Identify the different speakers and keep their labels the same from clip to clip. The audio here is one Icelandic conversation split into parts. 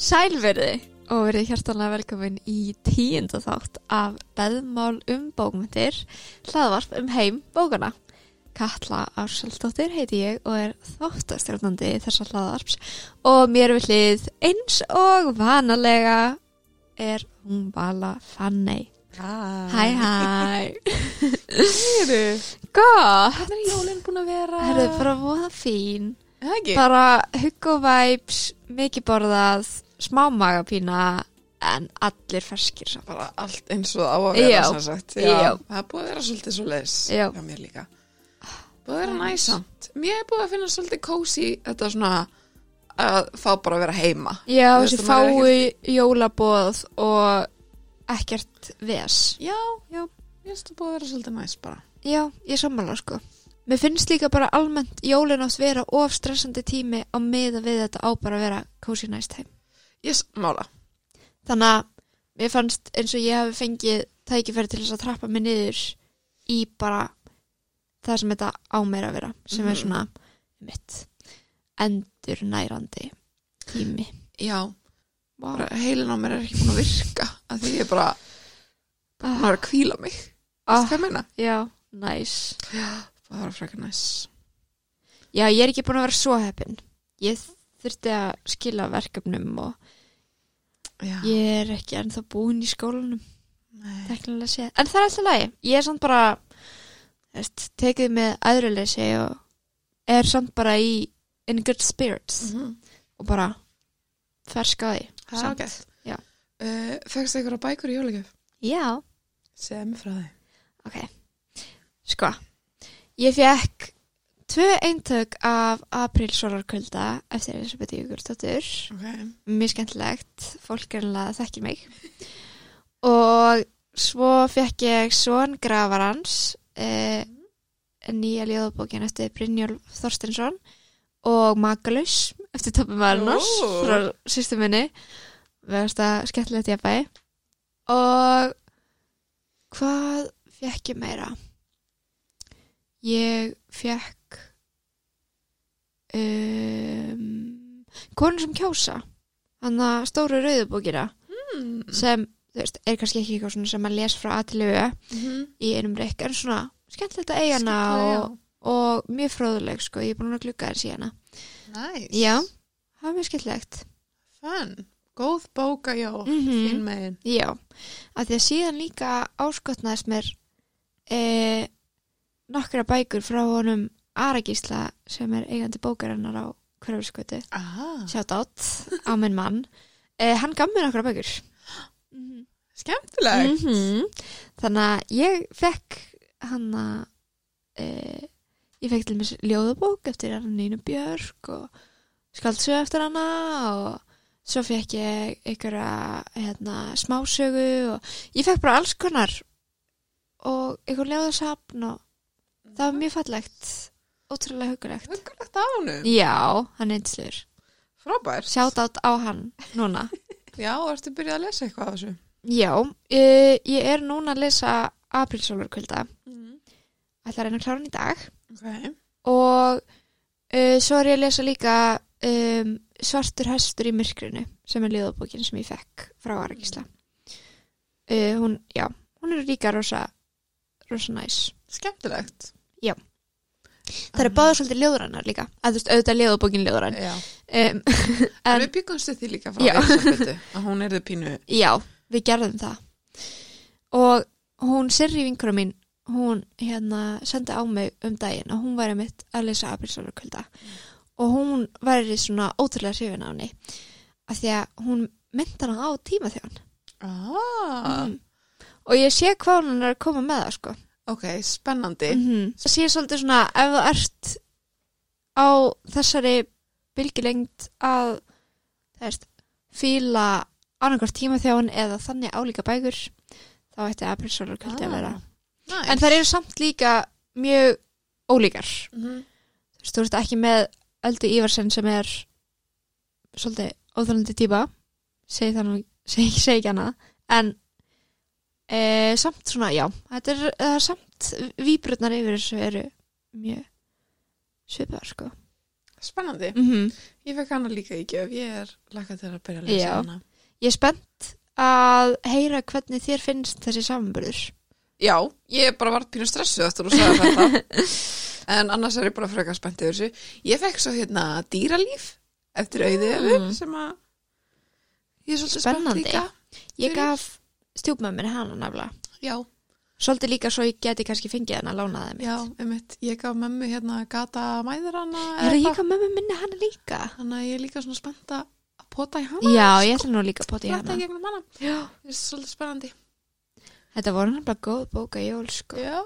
Speaker 1: Sælverði og verið hjartanlega velkomin í tíunda þátt af Beðmál um bókmyndir, hlaðvarp um heim bókana. Katla Ársaldóttir heiti ég og er þáttastjórnandi þessa hlaðvarps og mér við hlið eins og vanalega er hún Vala Fanney. Hæ hæ,
Speaker 2: Hæru,
Speaker 1: gott,
Speaker 2: hvernig er jólinn búin að vera?
Speaker 1: það er bara voða fín.
Speaker 2: Það ekki?
Speaker 1: bara huggo vibes, mikið borðað, smá magapína en allir ferskir samt.
Speaker 2: Bara allt eins og það á að vera,
Speaker 1: Já.
Speaker 2: sem sagt.
Speaker 1: Já.
Speaker 2: Það er búið að vera svolítið svo leis.
Speaker 1: Já.
Speaker 2: Já, mér líka. Búið að
Speaker 1: Það er
Speaker 2: vera
Speaker 1: nice.
Speaker 2: næsamt. Mér er búið að finna svolítið kósi þetta svona að fá bara að vera heima.
Speaker 1: Já,
Speaker 2: Þú veist,
Speaker 1: þessi
Speaker 2: maður er
Speaker 1: fáu jólabóð og ekkert ves.
Speaker 2: Já,
Speaker 1: Já.
Speaker 2: mér finnst það búið að vera svolítið næs bara.
Speaker 1: Já, ég sammála sko. Mér finnst líka bara almennt jólin átt vera of stressandi tími á miða við þetta á bara að vera cozy nice time.
Speaker 2: Ég yes, mála.
Speaker 1: Þannig að mér fannst eins og ég hafi fengið tækifæri til þess að trappa mig niður í bara það sem þetta á mér að vera sem er
Speaker 2: Mhm.
Speaker 1: svona mitt endur nærandi tími
Speaker 2: Já, bara heilin á mér er ekki búin að virka að því ég er bara að
Speaker 1: ah,
Speaker 2: vera að kvíla mig.
Speaker 1: Ah.
Speaker 2: Veistu Hvað ég meina?
Speaker 1: Já, næs
Speaker 2: Það var frekar næs.
Speaker 1: Já, ég er ekki búin að vera svo heppin Ég þurfti að skila verkefnum og
Speaker 2: Já,
Speaker 1: ég er ekki ennþá búin í skólanum
Speaker 2: nei.
Speaker 1: teknilega séð, en það er alltaf lagi ég er samt bara þú veist, tekið með aðruleysi og er samt bara í in good spirits
Speaker 2: Mhm. Ah,
Speaker 1: og bara ferska því
Speaker 2: Það er
Speaker 1: samt.
Speaker 2: ágætt.
Speaker 1: Já.
Speaker 2: Uh, Fegst það ykkur bækur í jólagjöf?
Speaker 1: já,
Speaker 2: Segð mér frá því.
Speaker 1: ok sko, ég fekk tvö eintök af aprílsólarkvölda eftir Elisabeth Jökulsdóttur
Speaker 2: Okay.
Speaker 1: mjög skemmtilegt, fólk er alveg þekkir mig og svo fekk ég Són Grafarans eh, nýja ljóðbókin eftir Brynjólf Þorstinsson og Magalus eftir Toppi Marinars
Speaker 2: Ó.
Speaker 1: frá sýstu minni verðast að skemmtilegt ég bæ og hvað fekk ég meira ég fekk um, konur sem kjósa hann að stóru rauðubókina
Speaker 2: Mm.
Speaker 1: sem þú veist, er kannski ekki eitthvað svona sem maður les frá aðtilöfu
Speaker 2: Mhm.
Speaker 1: í einum reik en svona skemmtilegt að eiga hana og, og mjög fróðuleg sko, ég er búin að glugga þér síðana
Speaker 2: Næs.
Speaker 1: Já, það er mjög skemmtilegt
Speaker 2: Fun. Góð bóka, já. Mm.
Speaker 1: mm
Speaker 2: Þín megin.
Speaker 1: Já, af því að síðan líka áskotnaðist mér e, nokkra bækur frá honum Aragísla sem er eigandi bókarinnar á hverfiskötu
Speaker 2: Aha.
Speaker 1: sjátt átt á minn mann e, hann gaf mér nokkra bækur mhm
Speaker 2: Skemmtileg.
Speaker 1: -hmm. Þannig að ég fekk hann að e, ég fekk til mér ljóðabók eftir hann Nínu Björk og skaldsög eftir hana og svo fekk ég einhverja hérna, smásögu og ég fekk bara alls konar og einhver ljóðasapn og það var mjög fallegt ótrúlega hugulegt
Speaker 2: Huggulegt á honum.
Speaker 1: Já, hann einslur
Speaker 2: Frábært.
Speaker 1: Sjátátt á hann núna
Speaker 2: Já, ertu byrjað að lesa eitthvað af þessu?
Speaker 1: Já, e, ég er núna að lesa aprilsólurkvölda
Speaker 2: Mm.
Speaker 1: Mhm. ætla að reyna að klára hann í dag
Speaker 2: Ok.
Speaker 1: og uh, svo er ég að lesa líka um, Svartur hestur í myrkrinu sem er liðabókin sem ég fekk frá Aragísla uh, hún, já, hún er líka rosa rosa næs
Speaker 2: Skemmtilegt.
Speaker 1: Já. það eru báða svolítið liðrannar líka að þú veist, auðvitað liðabókin liðrann
Speaker 2: Já.
Speaker 1: um,
Speaker 2: En
Speaker 1: En-
Speaker 2: við byggumst því líka frá
Speaker 1: Já.
Speaker 2: Elisabetu að hún erði pínu.
Speaker 1: já, við gerðum það og hún Sirri vinkra mín hún hérna sendi á mig um daginn að hún væri mitt að lesa aprilsólurkvölda og hún væri svona ótrúlega hrifin á henni af því að hún mynda hana á tíma þjón
Speaker 2: Ah.
Speaker 1: Mhm. og ég sé hvað hún er að koma með það sko
Speaker 2: Ok, spennandi.
Speaker 1: mm -hmm. sé svolítið svona ef þú ert á þessari bylgilengd að það veist fíla annarkvart tíma þjón eða þannig álíka bækur þá ætti aprilsólurkvöldi að vera
Speaker 2: Næs.
Speaker 1: en það eru samt líka mjög ólíkar
Speaker 2: Mhm.
Speaker 1: þú veist, þú ert ekki með Öldu Ívarsen sem er svolítið óþálandi típa segi það nú, segi, segi ekki hana en e, samt svona, já, þetta er, það er samt víbrutnar yfir þessu eru mjög svipaðar, sko
Speaker 2: spennandi
Speaker 1: mm
Speaker 2: ég fekk hana líka í gjöf, ég er laka til að byrja að lesa
Speaker 1: Já.
Speaker 2: hana
Speaker 1: Ég er spennt að heyra hvernig þér finnst þessi samanbörður.
Speaker 2: já, ég bara var pínu stressuð eftir og sagði þetta en annars er ég bara frekar spennt yfir þessu ég fekk svo hérna dýralíf eftir auðið yfir
Speaker 1: Mm.
Speaker 2: sem að ég er svolítið spennt
Speaker 1: Spennandi.
Speaker 2: líka
Speaker 1: Ég
Speaker 2: Fyrir.
Speaker 1: gaf stjúpmömmin hana nefnilega.
Speaker 2: já,
Speaker 1: Svolítið líka svo ég geti kannski fengið hana að lána þeim.
Speaker 2: já, einmitt ég gaf mömmu hérna gata mæður hana
Speaker 1: Er ég gaf mömmu minni hana líka?
Speaker 2: þannig að ég er líka svona spennt að að pota í hana
Speaker 1: Já, ég ætla nú líka að pota í
Speaker 2: Fletta
Speaker 1: hana.
Speaker 2: í gegnum hana,
Speaker 1: Já.
Speaker 2: það er svolítið spennandi
Speaker 1: Þetta voru nefnilega góð bóka jól, sko.
Speaker 2: já,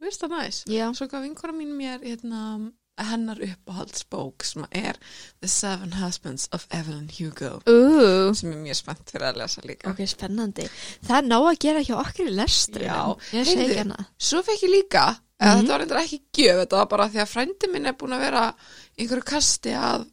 Speaker 2: veist það næs
Speaker 1: Já.
Speaker 2: Svo gaf vinkora mín mér hérna, hennar uppáhaldsbók sem er The Seven Husbands of Evelyn Hugo
Speaker 1: Ú,
Speaker 2: sem er mjög spennt fyrir að lesa líka.
Speaker 1: ok, spennandi. Það er ná að gera hjá okkur í lestri.
Speaker 2: Já.
Speaker 1: Ég segi hérna,
Speaker 2: Heyrðu.
Speaker 1: ekki hana.
Speaker 2: Svo fekk ég líka, eða
Speaker 1: Mhm.
Speaker 2: þetta var reyndar ekki gjöf, þetta var bara því að frændi minn er búin að vera í einhverju kasti að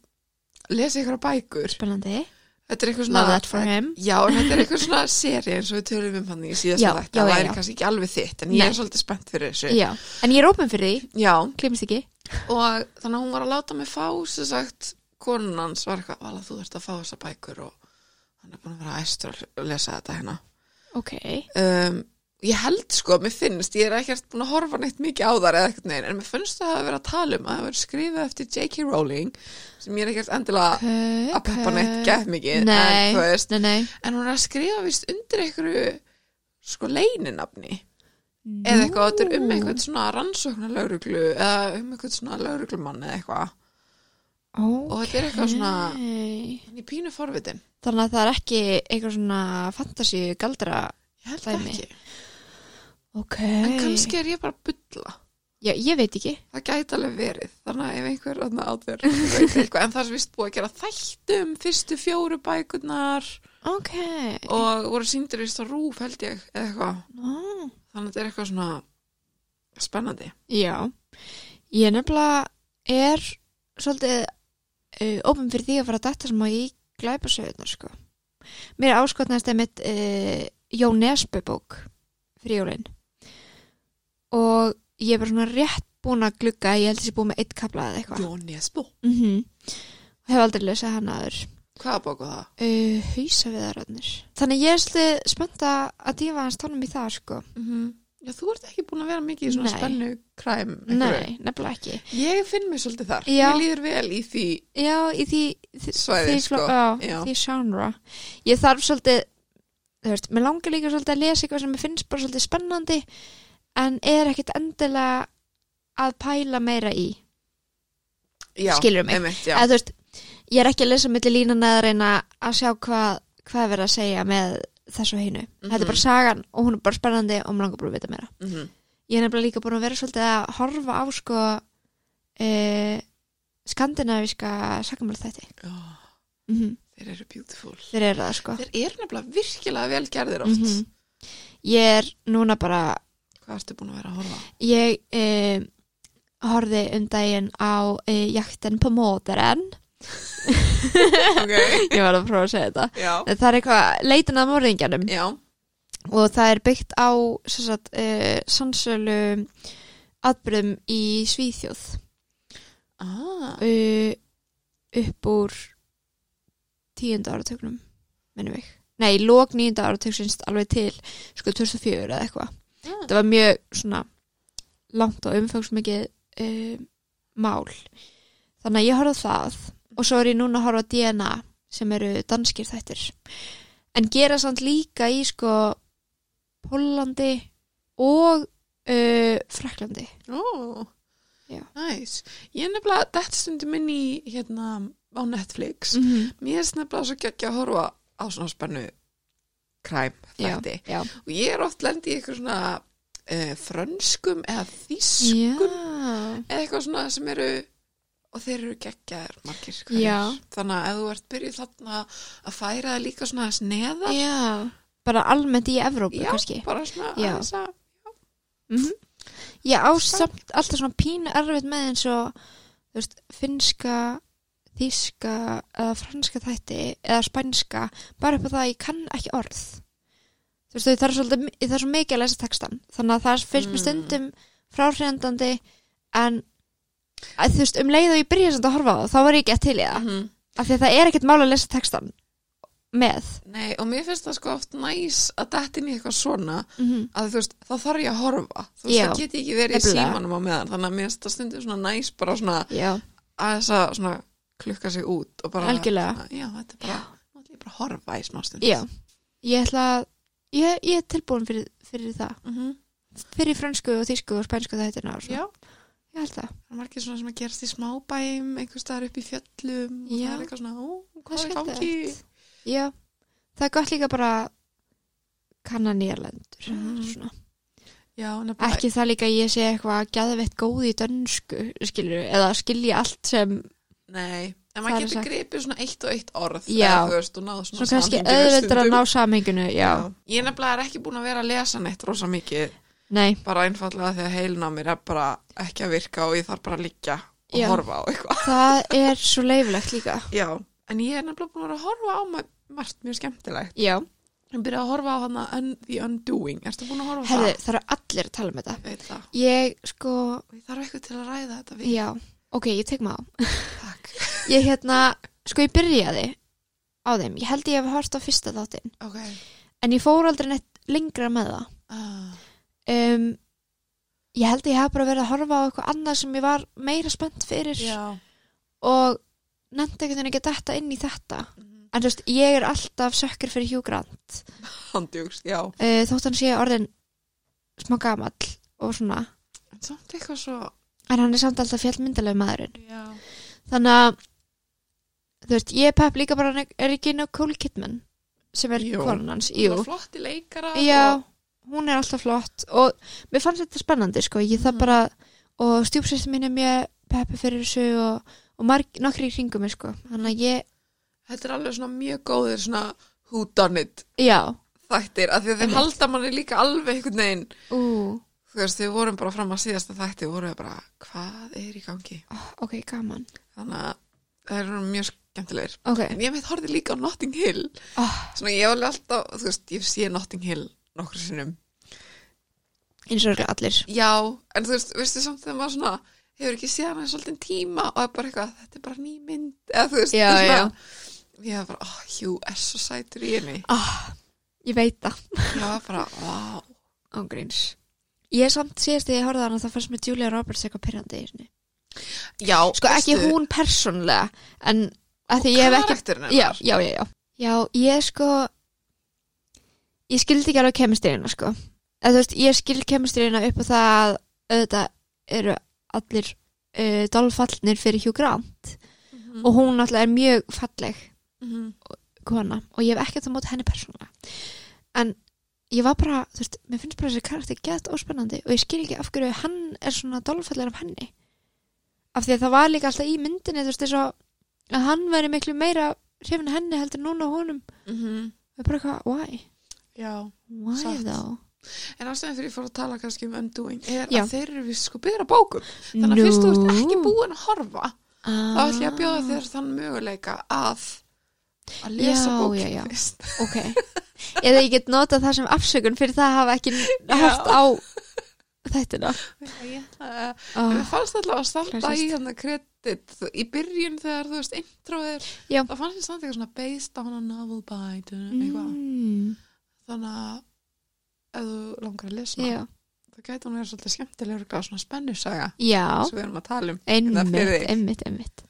Speaker 2: lesa einhverja bækur.
Speaker 1: Spennandi.
Speaker 2: Þetta er einhver svona...
Speaker 1: Love that for him.
Speaker 2: Já, en þetta er einhver svona seri eins og við tölum um hann í síðast
Speaker 1: Já,
Speaker 2: að þetta.
Speaker 1: já,
Speaker 2: Það
Speaker 1: já,
Speaker 2: er
Speaker 1: já.
Speaker 2: kannski ekki alveg þitt, en ég
Speaker 1: Nei.
Speaker 2: er svolítið spennt fyrir þessu.
Speaker 1: Já. En ég er ópen fyrir því.
Speaker 2: Já,
Speaker 1: Glimst ekki.
Speaker 2: og þannig að hún var að láta mig fá sem sagt, konun hans var eitthvað vala þú ert að fá þessa bækur og hann er búin að vera æstur að lesa þetta hérna
Speaker 1: Ok.
Speaker 2: um, ég held sko, mér finnst ég er ekkert búin að horfa neitt mikið á þar eða ekkert neginn, en mér finnst það að vera að tala um að það verið skrifað eftir J.K. Rowling sem ég er ekkert endilega
Speaker 1: Að
Speaker 2: að peppa neitt gæð mikið
Speaker 1: Nei,
Speaker 2: en, þú veist,
Speaker 1: nei, nei.
Speaker 2: en hún er að skrifa vist undir einhverju sko leininafni eða eitthvað, þetta er um einhvern svona rannsóknar lauruglu eða um einhvern svona lauruglumann eða eitthvað
Speaker 1: og
Speaker 2: þetta er eitthvað svona- En ég pínu forvitin.
Speaker 1: þannig að það er ekki eitthvað svona fantasíu galdra
Speaker 2: Ég held
Speaker 1: Dæmi.
Speaker 2: ekki.
Speaker 1: ok
Speaker 2: En kannski er ég bara að bulla.
Speaker 1: já, ég veit ekki
Speaker 2: Það gæti alveg verið. Þannig að ef einhver aðna átver veit eitthvað. En það er vist búið að gera þættum fyrstu fjóru bækurnar
Speaker 1: ok
Speaker 2: og voru síndir vist á rúf held ég eða eitthvað.
Speaker 1: Ó,
Speaker 2: Þannig að þetta er eitthvað svona spennandi.
Speaker 1: já ég nefnilega er svolítið uh, opum fyrir því að fara að dætta sem að ég glæpa sögurnar sko mér áskotnaðist eða mitt uh, Jón Nesbø bók fyrir jólin og ég er bara svona rétt búin að glugga ég held þessi búin með eitt kapla eða eitthvað
Speaker 2: Jóni Esbo.
Speaker 1: mm og hef aldrei lesað hann aður
Speaker 2: Hvaða bók var það?
Speaker 1: uh, hausaviðararnir þannig að ég er slið spennt að að dýfa hans tónum í það sko
Speaker 2: Já, þú ert ekki búin að vera mikið í svona
Speaker 1: Nei.
Speaker 2: spennu kræm.
Speaker 1: nei, nefnilega ekki
Speaker 2: Ég finn mig svolítið þar.
Speaker 1: Já.
Speaker 2: Mér líður vel í því
Speaker 1: já, í því, því,
Speaker 2: svæði,
Speaker 1: því,
Speaker 2: sko.
Speaker 1: fló, á,
Speaker 2: Já.
Speaker 1: því genre ég þarf svolítið þú veist, mér langar líka svolítið að lesa eitthvað sem mér finnst bara svolítið spennandi en er ekkit endilega að pæla meira í
Speaker 2: Já,
Speaker 1: Skilurðu mig?
Speaker 2: Einmitt, já.
Speaker 1: eða þú veist, ég er ekki að lesa milli línan eða reyna að sjá hvað hvað er verið að segja með þessu hinu þetta er
Speaker 2: Mhm.
Speaker 1: bara sagan og hún er bara spennandi og mér langar bara að vita meira
Speaker 2: Mm
Speaker 1: ég er nefnilega líka búin að vera svolítið að horfa á sko e, skandinavíska sakamál þætti mm -hmm.
Speaker 2: Þeir eru beautiful.
Speaker 1: þeir eru það sko
Speaker 2: Þeir eru nefnilega virkilega vel gerðir oft.
Speaker 1: mm ég er núna bara
Speaker 2: Hvað ertu búin að vera að horfa? á?
Speaker 1: ég e, horfi um daginn á e, jakten på móteren
Speaker 2: Ok,
Speaker 1: ég var að prófa að segja þetta
Speaker 2: já.
Speaker 1: það er eitthvað leitin að morðingjanum
Speaker 2: Já,
Speaker 1: og það er byggt á sem sagt, e, sannsölu atbyrðum í Svíþjóð
Speaker 2: ah,
Speaker 1: uh, upp úr tíunda áratögnum minnum við, nei, lók níunda áratögsins alveg til, sko, 2004 eða eitthvað,
Speaker 2: ah,
Speaker 1: þetta var mjög svona langt og umfangsmikið uh, mál þannig að ég horfði á það og svo er ég núna að horfa á DNA sem eru danskir þættir en gera samt líka í sko Pólandi og uh, Fraklandi
Speaker 2: ó,
Speaker 1: Já.
Speaker 2: næs. Ég er nefnilega, þetta stundi minn í, hérna, á Netflix.
Speaker 1: mm -hmm.
Speaker 2: Mér er nefnilega svo geggja að horfa á svona spennu kræm
Speaker 1: já,
Speaker 2: þætti.
Speaker 1: já.
Speaker 2: Og ég er oft lendi í eitthvað svona uh, frönskum eða
Speaker 1: Mm.
Speaker 2: þýskum
Speaker 1: já.
Speaker 2: eða eitthvað svona sem eru og þeir eru geggjaðir margir
Speaker 1: Já.
Speaker 2: hverjir þannig að ef þú ert byrjuð þarna að færa það líka svona aðeins neðar
Speaker 1: Já, bara almennt í Evrópu
Speaker 2: Já,
Speaker 1: kannski.
Speaker 2: bara svona
Speaker 1: Já.
Speaker 2: aðeins að
Speaker 1: Ég á samt alltaf svona pínu erfitt með eins og þú veist, finska, þíska eða franska þætti eða spænska, bara upp á það að ég kann ekki orð. Þú veist, það er, svolítið, það er svo mikið að lesa textan. Þannig að það finnst mér
Speaker 2: Mm.
Speaker 1: stundum fráhrindandi en að, þú veist, um leið og ég byrja samt að horfa á það, þá var ég ekki að til í það
Speaker 2: Mhm.
Speaker 1: af því að það er ekkert mál að lesa textan með
Speaker 2: Nei, og mér finnst það sko oft næs að detta inn í eitthvað svona
Speaker 1: mm
Speaker 2: að þú veist, þá þarf ég að horfa þú veist,
Speaker 1: Já.
Speaker 2: það get ég ekki verið í
Speaker 1: Nefnilega.
Speaker 2: símanum á meðan þannig að mér finnst það stundum svona næs bara svona
Speaker 1: já,
Speaker 2: að þess að svona klukka sig út og bara,
Speaker 1: Algjörlega.
Speaker 2: já, þetta er bara nú ætla ég bara að horfa í smá stund
Speaker 1: já ég ætla að ég, ég er tilbúin fyrir, fyrir það
Speaker 2: Mhm.
Speaker 1: fyrir fransku og þýsku og spænsku þættina og svona.
Speaker 2: já,
Speaker 1: ég held það,
Speaker 2: það er margir svona sem að gerast í smábæm einhvers staðar upp í fjöllum og
Speaker 1: Já.
Speaker 2: það er eitthvað svona, ó,
Speaker 1: Það er
Speaker 2: hvað er í gangi
Speaker 1: skemmtilegt. já það er gott líka bara kannan nýjarlendur
Speaker 2: Mhm.
Speaker 1: svona
Speaker 2: já, nefnilega,
Speaker 1: ekki það líka að ég sé eitthvað gæðveitt góð í dönsku skilur, eða skilji allt sem
Speaker 2: nei en
Speaker 1: Það er
Speaker 2: maður getur
Speaker 1: sagt.
Speaker 2: gripið svona eitt og eitt orð
Speaker 1: Já.
Speaker 2: eða, þú veist, og náð svona
Speaker 1: svona kannski
Speaker 2: samhengi
Speaker 1: auðveldur að
Speaker 2: stundum.
Speaker 1: ná samhenginu já,
Speaker 2: ég nefnilega er ekki búin að vera að lesa neitt rosa mikið,
Speaker 1: nei,
Speaker 2: bara einfallega því að heilin á mér er bara ekki að virka og ég þarf bara að liggja og
Speaker 1: Já.
Speaker 2: horfa á eitthvað
Speaker 1: það er svo leifilegt líka
Speaker 2: já, en ég er nefnilega búin að vera að horfa á ma- margt mjög skemmtilegt
Speaker 1: já,
Speaker 2: ég byrja að horfa á hana un, The Undoing erstu búin að horfa á
Speaker 1: herðu, það eru allir að tala um þetta
Speaker 2: það? Veit það.
Speaker 1: ég, sko,
Speaker 2: og ég þarf eitthvað til að ræða þetta við
Speaker 1: já ok, ég tek maður á
Speaker 2: takk
Speaker 1: ég hérna, sko ég byrjaði á þeim, ég held ég hef hort á fyrsta þáttinn
Speaker 2: ok
Speaker 1: en ég fór aldrei neitt lengra með það
Speaker 2: Ah,
Speaker 1: um, ég held ég hef bara verið að horfa á eitthvað annað sem ég var meira spennt fyrir
Speaker 2: já
Speaker 1: og nefndi einhvern veginn ekki að detta inn í þetta
Speaker 2: Mhm.
Speaker 1: en þú veist, ég er alltaf sökkur fyrir Hugh Grant
Speaker 2: handjúks, já
Speaker 1: uh, þótt hann sé orðin smá gamall og svona
Speaker 2: en samt eitthvað svo
Speaker 1: en hann er samt alltaf fjallmyndaleg maðurinn
Speaker 2: já,
Speaker 1: þannig að þú veist, ég er pepp líka bara hann er ekki inn á Cole Kidman sem er
Speaker 2: Jú.
Speaker 1: konan hans,
Speaker 2: Hún
Speaker 1: jú
Speaker 2: var flotti leikara
Speaker 1: já,
Speaker 2: og,
Speaker 1: hún er alltaf flott og mér fannst þetta spennandi sko, ég það
Speaker 2: Mhm.
Speaker 1: bara og stjúpsýstin mín er mjög peppi fyrir þessu og, og marg, nokkri í kringum mig sko, þannig að ég
Speaker 2: þetta er alveg svona mjög góðir svona who done it
Speaker 1: já,
Speaker 2: þættir, af því að þeir
Speaker 1: Einmitt.
Speaker 2: halda manni líka alveg einhvern veginn,
Speaker 1: ú,
Speaker 2: þú veist, þegar við vorum bara fram að síðasta þætti, vorum við bara, hvað er í gangi?
Speaker 1: ah, ok, gaman
Speaker 2: Þannig að það eru mjög skemmtilegir.
Speaker 1: ok,
Speaker 2: En ég meitt horfði líka á Notting Hill,
Speaker 1: oh,
Speaker 2: svona ég hef alveg alltaf, þú veist, ég sé Notting Hill nokkru sinnum.
Speaker 1: eins og örugglega allir
Speaker 2: Já, en þú veist, veistu samt þegar maður svona, hefur ekki séð hann í svolítið tíma og er bara eitthvað, þetta er bara ný mynd, eða þú veist,
Speaker 1: Já,
Speaker 2: það er svona, ég hef bara, oh, hjú, er svo sætur í henni.
Speaker 1: ég veit það
Speaker 2: Ég var bara, vá,
Speaker 1: ángríns ég samt síðast þegar ég horfði á hana þá fannst mér Julia Roberts eitthvað pyrrandi í henni
Speaker 2: já,
Speaker 1: sko ekki hún persónlega en að því ég hef ekki já,
Speaker 2: karakterinn
Speaker 1: já,
Speaker 2: hennar.
Speaker 1: já, já. já, ég sko ég skildi ekki alveg kemistriðina sko eða þú veist, ég skildi kemistriðina upp á það að auðvitað eru allir uh, dolfallnir fyrir Hugh Grant
Speaker 2: Mhm.
Speaker 1: og hún alltaf er mjög falleg
Speaker 2: Mhm.
Speaker 1: kona og ég hef ekkert á móti henni persónulega en ég var bara, þú veist, mér finnst bara þessi karakter gett óspennandi og ég skil ekki af hverju hann er svona dolfallar af henni af því að það var líka alltaf í myndinni þú veist, þess að að hann væri miklu meira hrifin af henni heldur en núna á honum
Speaker 2: Mhm.
Speaker 1: og bara eitthvað, why?
Speaker 2: Já,
Speaker 1: Why
Speaker 2: Satt.
Speaker 1: though?
Speaker 2: en ástæðan fyrir ég fór að tala kannski um undoing er
Speaker 1: Já.
Speaker 2: að þeir eru við sko byrja bókum þannig að fyrst þú ert ekki búin að horfa
Speaker 1: Ah.
Speaker 2: þá ætlum ég að bjóða þér þann möguleika að að lesa
Speaker 1: Já,
Speaker 2: bókin
Speaker 1: já, já.
Speaker 2: fyrst
Speaker 1: ok, eða ég get notað það sem afsökun fyrir það að hafa ekki haft á þættina
Speaker 2: uh,
Speaker 1: oh.
Speaker 2: Mér fannst alltaf að standa
Speaker 1: Klassist.
Speaker 2: í hérna kredit í byrjun þegar þú veist introðir
Speaker 1: Já.
Speaker 2: þá fannst ég standa eitthvað svona based on a novel by mm.
Speaker 1: mm,
Speaker 2: þannig að ef þú langar að lesa hana,
Speaker 1: já,
Speaker 2: þá gæti hún verið svolítið skemmtilegur og svona spennusaga
Speaker 1: já
Speaker 2: sem við erum að tala um Eða fyrir
Speaker 1: Einmitt,
Speaker 2: þig.
Speaker 1: einmitt, einmitt.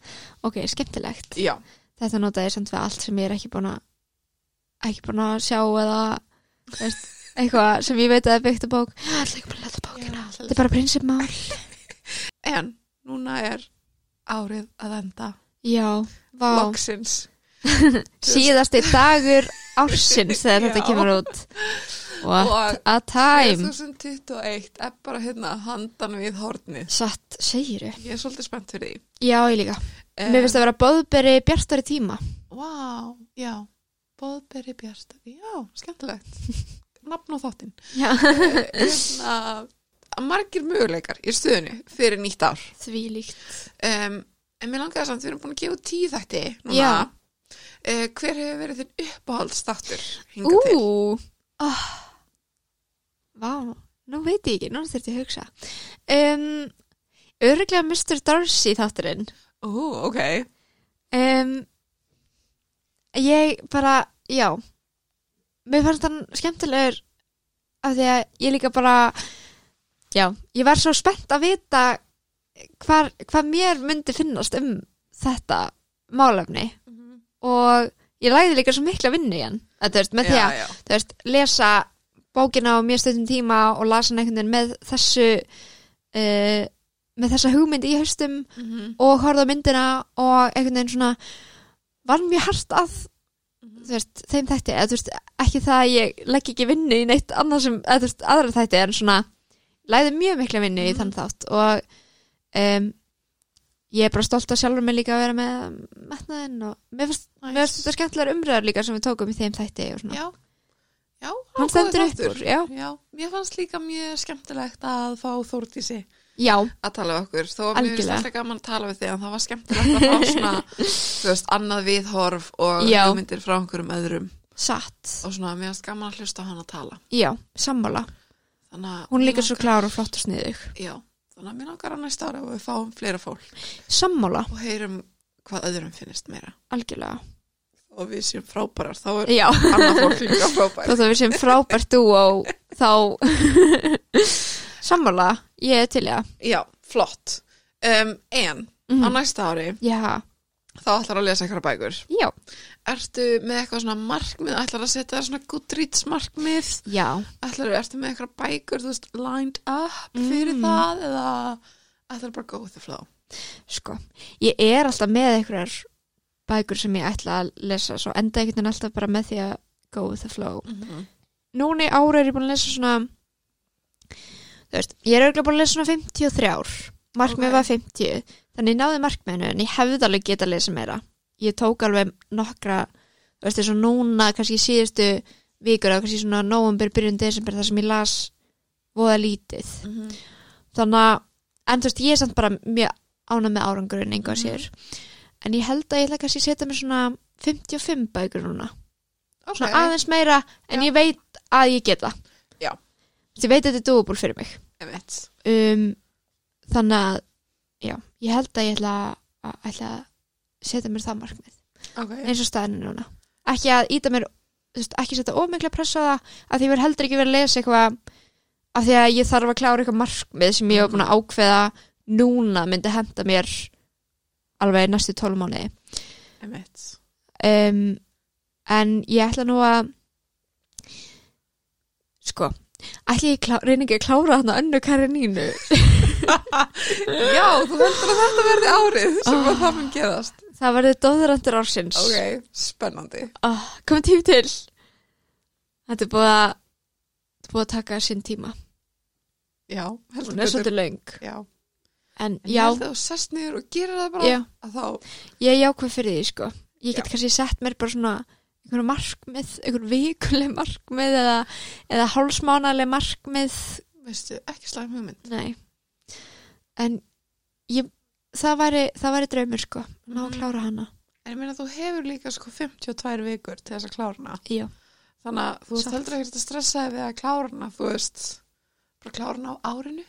Speaker 1: Ok, skemmtilegt.
Speaker 2: Já,
Speaker 1: Þetta notaði ég samt við allt sem ég er ekki búin að ekki búin að sjá eða þú veist, eitthvað sem ég veit að er byggt að bók. Það er alltaf ekki búin að leta bókina.
Speaker 2: Já,
Speaker 1: Þetta er bara prinsipmál.
Speaker 2: en núna er árið að enda
Speaker 1: Já, vá.
Speaker 2: loksins
Speaker 1: Síðasti dagur ársins þegar
Speaker 2: Já.
Speaker 1: þetta kemur út. What
Speaker 2: og
Speaker 1: a time.
Speaker 2: 2021 er bara hérna handan við hornið
Speaker 1: Satt, segiru.
Speaker 2: ég er svolítið spennt fyrir því
Speaker 1: Já, ég líka. Mér finnst að vera bóðberi bjartari tíma.
Speaker 2: wow, já, Bóðberi Bjart já, skemmtilegt nafn og þáttinn
Speaker 1: Já.
Speaker 2: Eh, hérna, margir möguleikar í stöðunni fyrir nýtt ár
Speaker 1: Því líkt.
Speaker 2: um, en mér langaði samt, við erum búin að gefa út tíu þætti núna
Speaker 1: Já.
Speaker 2: Eh, hver hefur verið þinn uppáhaldsþáttur hingað til?
Speaker 1: Ú, oh. Vá, nú veit ég ekki, nú þurfti ég að hugsa um, örglega Mr. Darcy þátturinn
Speaker 2: Ó, ok.
Speaker 1: um, ég bara, já mér fannst hann skemmtilegur af því að ég líka bara já, ég var svo spennt að vita hvar, hvað mér myndi finnast um þetta málefni og ég læði líka svo mikla vinnu í hann að, þú veist, með því að
Speaker 2: já.
Speaker 1: þú veist, lesa bókina á mjög stöðum tíma og lasa hann einhvern veginn með þessu uh, með þessa hugmynd í haustum
Speaker 2: Mhm.
Speaker 1: og horfði á myndina og einhvern veginn svona var mjög hart að
Speaker 2: Mhm.
Speaker 1: þú veist, þeim þætti eða þú veist, ekki það að ég legg ekki vinnu í neitt annað sem, eða þú veist, aðra þætti en svona, læði mjög mikla vinnu í
Speaker 2: Mhm.
Speaker 1: þann þátt og um, ég er bara stolt að sjálfur mig líka að vera með metnaðinn og mér finnst, mér finnst þetta skemmtilegar umræður líka sem við tókum í þeim þætti og svona,
Speaker 2: Já. Já,
Speaker 1: hann
Speaker 2: var góður
Speaker 1: stendur upp
Speaker 2: þáttur.
Speaker 1: úr, já
Speaker 2: Já, mér fannst líka mjög skemmtilegt að fá Þórdísi
Speaker 1: Já,
Speaker 2: að tala við okkur, þó að mér finnst
Speaker 1: Algjörlega.
Speaker 2: alltaf gaman að tala við þig en það var skemmtilegt að fá svona, þú veist, annað viðhorf og
Speaker 1: Já.
Speaker 2: hugmyndir frá einhverjum öðrum
Speaker 1: satt,
Speaker 2: og svona, mér finnst gaman að hlusta á hann að tala
Speaker 1: já, sammála
Speaker 2: þannig að
Speaker 1: hún er
Speaker 2: mér
Speaker 1: líka svo
Speaker 2: langar-
Speaker 1: klár og flott og sniðug
Speaker 2: Já, þannig að mér langar að næsta ára og við fáum fleira fólk
Speaker 1: sammála,
Speaker 2: og heyrum hvað öðrum finnst meira
Speaker 1: algjörlega
Speaker 2: og við séum frábærar, þá er
Speaker 1: Já,
Speaker 2: annað fólk líka frábært
Speaker 1: þótt að við sem frábært dú á þá sammála, ég er til í það
Speaker 2: Já, flott um, En, á
Speaker 1: Mhm.
Speaker 2: næsta ári
Speaker 1: Já,
Speaker 2: þá ætlar að lesa eitthvað bækur
Speaker 1: já,
Speaker 2: Ertu með eitthvað svona markmið, ætlar að setja þér svona Goodreads markmið
Speaker 1: já
Speaker 2: ætlar, ertu með eitthvað bækur, þú veist, lined up fyrir
Speaker 1: Mm.
Speaker 2: það eða ætlar bara að go with the flow
Speaker 1: sko, ég er alltaf með einhverjar bækur sem ég ætla að lesa svo enda einhvern veginn alltaf bara með því að go with the flow núna í ára er ég búin að lesa svona þú veist, ég er auðvitað búin að lesa svona 53 ár markmið
Speaker 2: Ok.
Speaker 1: var 50 þannig ég náði markmiðinu en ég hefði alveg getað að lesa meira ég tók alveg nokkra þú veist, eins og núna, kannski í síðustu vikur eða kannski svona november, byrjun desember þar sem ég las voða lítið
Speaker 2: Mhm.
Speaker 1: þannig að, en þú veist, ég er samt bara mjög ánað með árangurinn einhvað
Speaker 2: Mhm.
Speaker 1: sér en ég held að ég ætla kannski að setja mér svona 55 bækur núna
Speaker 2: Ok,
Speaker 1: svona aðeins meira en
Speaker 2: Já.
Speaker 1: ég veit að ég get það
Speaker 2: Já.
Speaker 1: Þess, ég veit að þetta er dúbúl fyrir mig
Speaker 2: emitt
Speaker 1: um, þannig að já, ég held að ég ætla að, ætla að setja mér það markmið
Speaker 2: Ok,
Speaker 1: eins og staðinu núna ekki að íta mér, þú veist, ekki setja ómikla pressa á það, að því ég verð heldur ekki verið að lesa eitthvað af því að ég þarf að klára eitthvað markmið sem ég hef búin að ákveða núna myndi henda mér alveg næstu tólum mánuði
Speaker 2: emitt
Speaker 1: um, en ég ætla nú að sko ætla ég klá, reyna ekki að klára þarna önnu Karinínu
Speaker 2: Já, þú heldur að þetta verði árið sem að það mun gerast
Speaker 1: það verði dóðurandur ársins
Speaker 2: Ok, spennandi
Speaker 1: oh, komið tími til þetta er búið að þetta er búið að taka sinn tíma
Speaker 2: Já, heldur
Speaker 1: hún er svolítið löng
Speaker 2: Já,
Speaker 1: en
Speaker 2: en
Speaker 1: já,
Speaker 2: ég held að þú sest niður og gerir það bara
Speaker 1: já,
Speaker 2: að þá,
Speaker 1: ég er jákvæð fyrir því sko ég get
Speaker 2: Já.
Speaker 1: kannski sett mér bara svona einhverju markmið, einhverju vikuleg markmið eða, eða hálsmánaleg markmið
Speaker 2: veistu, ekki slæm hugmynd
Speaker 1: Nei En ég, það, væri, það væri draumur sko Ná að
Speaker 2: Mhm.
Speaker 1: klára hana
Speaker 2: En ég meina þú hefur líka sko 52 vikur til þess að klárna
Speaker 1: Já,
Speaker 2: Þannig að þú
Speaker 1: Satt.
Speaker 2: veist heldur ekkert að stressa þig við að klárna, þú veist bara klárna á árinu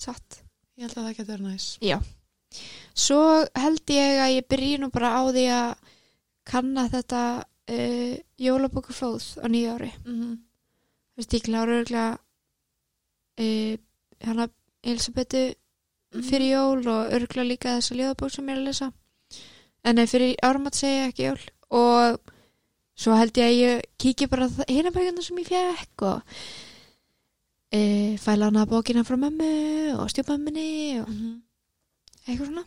Speaker 1: satt
Speaker 2: Ég held að það getur næs.
Speaker 1: Svo held ég að ég byrji nú bara á því að kanna þetta uh, jólabókuflóð á nýja ári
Speaker 2: Mm -hmm.
Speaker 1: Þú veist, ég klára örgulega uh, hana Elisabetu fyrir jól og örgulega líka þessa ljóðabók sem ég er að lesa en nei, fyrir áramat segja ég ekki jól og svo held ég að ég kíki bara hérna bækina sem ég fekk og e, fæla hana bókina frá mömmu og stjúpamminni og eitthvað svona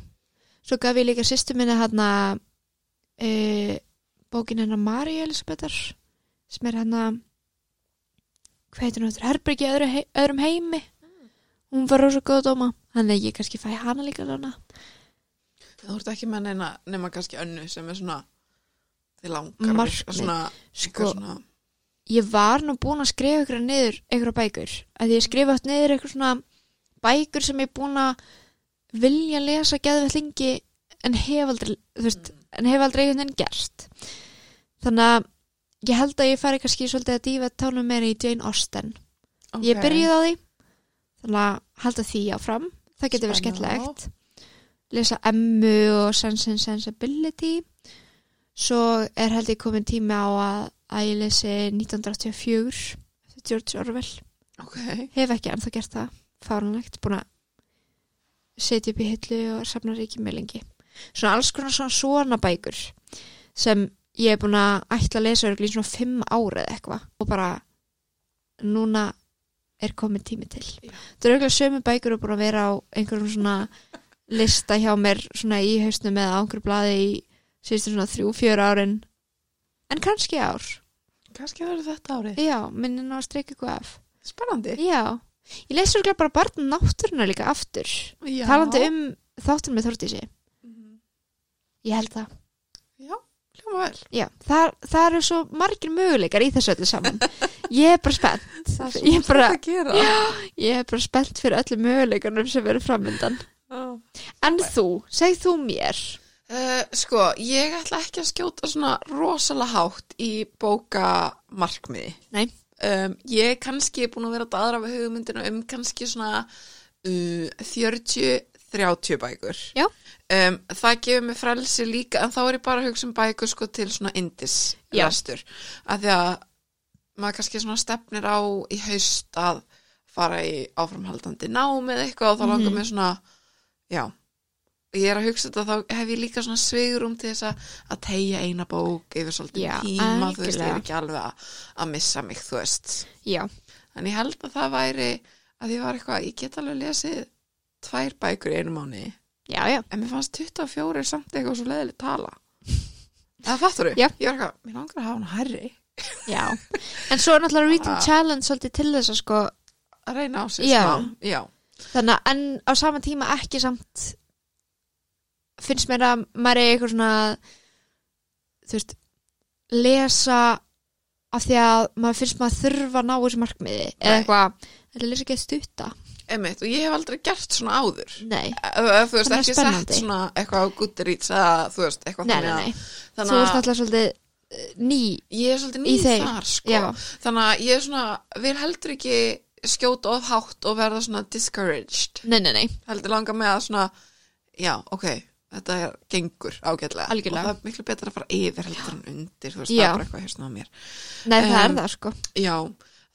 Speaker 1: svo gaf ég líka sýstu minni hana e, bókina hennar Mari Elisabetar sem er hana hvað heitir hún þetta herbyrgi öðru, hei- öðrum heimi hún var rosa góð að dóma þannig að ég kannski fæ hana líka hana
Speaker 2: Þú ert ekki með neina nema kannski önnu sem er svona þið langar við-
Speaker 1: Markmið.
Speaker 2: svona,
Speaker 1: sko,
Speaker 2: eitthvað svona
Speaker 1: ég var nú búin að skrifa ykkur niður einhverja bækur, að ég skrifa átt niður eitthvað svona bækur sem ég er búin að vilja lesa geðveld lengi en hef aldrei þú veist, en hef aldrei einhvern veginn gerst þannig að ég held að ég fari kannski svolítið að dýfa tánum meira í Jane Austen
Speaker 2: ok.
Speaker 1: ég byrjuði á því þannig að halda því áfram það getur verið
Speaker 2: Spennandi.
Speaker 1: skemmtilegt lesa emmu og sense and sensibility svo er held ég komin tími á að, að ég lesi 1984 eftir George Orwell
Speaker 2: ok,
Speaker 1: hef ekki ennþá gert það fárunlegt, búin að setja upp í hillu og safna ríki mjög lengi svona alls konar svona svona bækur sem ég er búin að ætla að lesa örugglega í svona fimm ára eða eitthvað og bara núna er komin tími til
Speaker 2: Já.
Speaker 1: það eru auðvitað sömu bækur og búin að vera á einhverjum svona lista hjá mér svona í hausnum eða á einhverju blaði í síðustu svona þrjú, fjör árin en kannski í ár
Speaker 2: kannski verður þetta árið
Speaker 1: já, minni ná að streika eitthvað af
Speaker 2: spennandi
Speaker 1: Já, ég lesi örglega bara barn náttúruna líka aftur
Speaker 2: Já.
Speaker 1: talandi um þáttunum með Þórdísi
Speaker 2: Mhm.
Speaker 1: Ég held það
Speaker 2: hljóma vel
Speaker 1: Já, það, það eru svo margir möguleikar í þessu öllu saman Ég er bara spennt
Speaker 2: það er
Speaker 1: Ég
Speaker 2: svo
Speaker 1: er bara,
Speaker 2: margt að gera já.
Speaker 1: ég er bara spennt fyrir öllu möguleikarnum sem eru framöndan En þú, segð þú mér
Speaker 2: Uh, sko, ég ætla ekki að skjóta svona rosalega hátt í bókamarkmiði.
Speaker 1: Nei.
Speaker 2: Um, ég kannski er búin að vera að aðra við hugmyndina um kannski svona uh, 40-30 bækur.
Speaker 1: Já.
Speaker 2: Um, það gefur mér frelsi líka, en þá er ég bara að hugsa um bækur sko til svona indis
Speaker 1: Já.
Speaker 2: lestur. Af því að maður kannski svona stefnir á í haust að fara í áframhaldandi nám eða eitthvað og þá langar
Speaker 1: Mhm.
Speaker 2: mér svona, já, ég er að hugsa þetta þá hef ég líka svona svigurum til þess að að tegja eina bók yfir svolítið
Speaker 1: Já,
Speaker 2: tíma, þú veist, ég er
Speaker 1: algjörlega.
Speaker 2: ekki alveg að, að missa mig, þú veist.
Speaker 1: Já,
Speaker 2: En ég held að það væri að ég var eitthvað, ég get alveg lesið tvær bækur í einu mánu,
Speaker 1: já, já
Speaker 2: en mér fannst 24 er samt eitthvað svo leiðileg tala. Það fattur
Speaker 1: Já.
Speaker 2: Ég var eitthvað, mér langar að hafa hana herri
Speaker 1: Já, en svo er náttúrulega Reading
Speaker 2: Ah.
Speaker 1: Challenge svolítið til þess að sko
Speaker 2: að reyna á sig
Speaker 1: Já.
Speaker 2: smá. Já.
Speaker 1: þannig að en á sama tíma ekki samt finnst mér að maður er eitthvað svona þú veist lesa af því að maður finnst maður þurfa að ná þessu markmiði eða
Speaker 2: Nei.
Speaker 1: eitthvað, þetta lesa ekki að stutta
Speaker 2: Einmitt, og ég hef aldrei gert svona áður
Speaker 1: nei,
Speaker 2: Ef- ef þú veist
Speaker 1: Þannig
Speaker 2: ekki
Speaker 1: spennandi.
Speaker 2: sett svona eitthvað á Goodreads eða þú veist eitthvað
Speaker 1: nei, nei, nei
Speaker 2: að-
Speaker 1: þú
Speaker 2: þannig
Speaker 1: ert
Speaker 2: að
Speaker 1: alltaf svolítið eh, ný
Speaker 2: ég er svolítið
Speaker 1: í
Speaker 2: ný
Speaker 1: þeim.
Speaker 2: þar sko.
Speaker 1: já,
Speaker 2: þannig að ég er svona, vil heldur ekki skjóta of hátt og verða svona discouraged,
Speaker 1: nei, nei, nei,
Speaker 2: heldur langa með að svona já, ok, þetta er gengur ágætlega
Speaker 1: Algjörlega.
Speaker 2: og það er miklu betra að fara yfir heldur en undir þú veist, það
Speaker 1: Já.
Speaker 2: er bara eitthvað hérsna á mér
Speaker 1: nei það
Speaker 2: Em,
Speaker 1: er það sko
Speaker 2: Já,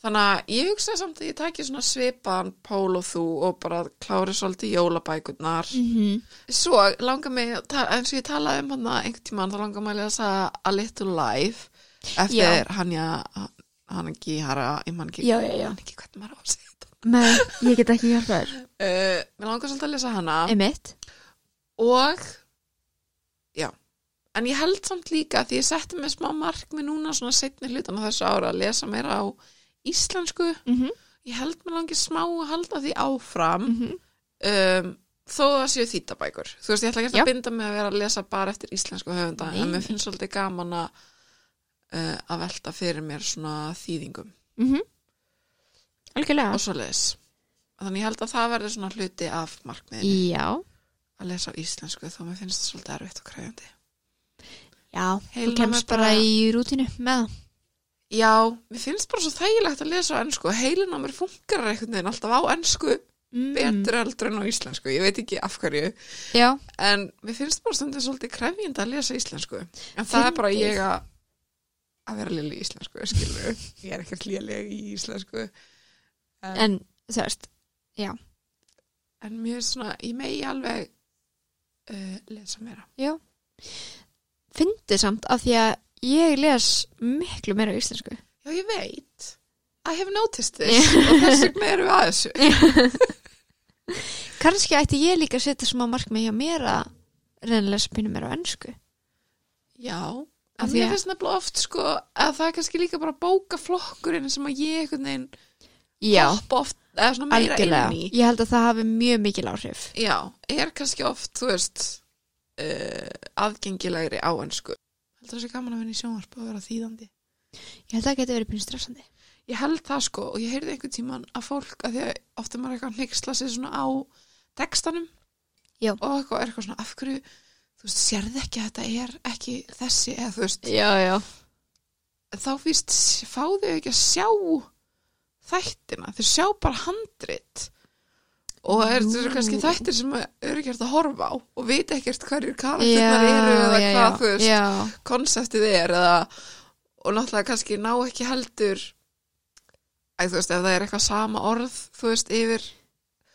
Speaker 2: þannig að ég hugsa samt að ég taki svona svipan pól og þú og bara klári svolítið jólabækurnar.
Speaker 1: Mhm.
Speaker 2: Svo langar mig, að ta- eins og ég talaði um hann einhvern tímann, þá langar mig að lesa A Little Life
Speaker 1: Já.
Speaker 2: eftir Hanja, Hangi Hara, ég man ekki,
Speaker 1: Já, já, já.
Speaker 2: man ekki hvernig maður á að segja þetta.
Speaker 1: nei, ég get ekki hjálpa þér
Speaker 2: Uh, mér langar svolítið að lesa hana
Speaker 1: einmitt,
Speaker 2: og já, en ég held samt líka því ég setti mig smá markmi núna svona setni hlutan á þessu ára að lesa meira á íslensku
Speaker 1: mm
Speaker 2: ég held mér langi smá að halda því áfram
Speaker 1: Mhm.
Speaker 2: um, þó það séu þýtabækur þú veist, ég ætla ekki
Speaker 1: Já.
Speaker 2: að binda mig að vera að lesa bara eftir íslensku höfunda
Speaker 1: Nei.
Speaker 2: en mér finnst svolítið gaman að uh, að velta fyrir mér svona þýðingum
Speaker 1: Mhm. algjörlega
Speaker 2: og svoleiðis þannig ég held að það verður svona hluti af markmiðin
Speaker 1: já,
Speaker 2: að lesa á íslensku þó mér finnst það svolítið erfitt og kræfandi
Speaker 1: já, þú
Speaker 2: Heilnæmi
Speaker 1: kemst bara
Speaker 2: bara-
Speaker 1: í rútinu með það
Speaker 2: já, mér finnst bara svo þægilegt að lesa á ennsku heilin á mér funkar einhvern veginn alltaf á ennsku
Speaker 1: Mm.
Speaker 2: betur heldur en á íslensku ég veit ekki af hverju
Speaker 1: já,
Speaker 2: en mér finnst bara stundin svolítið krefjandi að lesa íslensku en það er bara
Speaker 1: Fyndið.
Speaker 2: ég að að vera léleg í íslensku skilur. ég er ekkert léleg í íslensku
Speaker 1: en þú veist
Speaker 2: en mér er svona, ég megi alveg uh, lesa meira
Speaker 1: fyndið samt af því að ég les miklu meira íslensku
Speaker 2: já ég veit, I have noticed this og þess vegna erum við að þessu
Speaker 1: kannski ætti ég líka að setja smá markmið hjá mér að reyna að lesa pínu meira á ennsku
Speaker 2: já,
Speaker 1: Af
Speaker 2: en
Speaker 1: því að-
Speaker 2: mér finnst nefnilega oft sko að það er kannski líka bara bókaflokkurinn sem að ég einhvern veginn hoppa oft, eða svona meira
Speaker 1: algjörlega,
Speaker 2: inn í
Speaker 1: ég held að það hafi mjög mikil áhrif
Speaker 2: Já, er kannski oft, þú veist, uh, aðgengilegri á ennsku. Heldur það sé gaman að vinna í sjónvarp og vera þýðandi?
Speaker 1: ég held að það geti verið pínu stressandi
Speaker 2: Ég held það sko og ég heyrði einhvern tíman að fólk, að því að oft er maður eitthvað að neyksla sig svona á textanum
Speaker 1: Já.
Speaker 2: og eitthvað, er eitthvað svona af hverju, þú veist, sérði ekki að þetta er ekki þessi eða þú veist,
Speaker 1: já, já,
Speaker 2: þá víst fá þau ekki að sjá þættina, þau sjá bara handrit og er, þetta eru kannski
Speaker 1: Nú.
Speaker 2: þættir sem eru ekki hægt að horfa á og vita ekkert hverjir karakternar eru eða
Speaker 1: já,
Speaker 2: hvað, þú
Speaker 1: já,
Speaker 2: veist,
Speaker 1: já,
Speaker 2: konseptið er eða, og náttúrulega kannski ná ekki heldur æ, þú veist, ef það er eitthvað sama orð þú veist, yfir,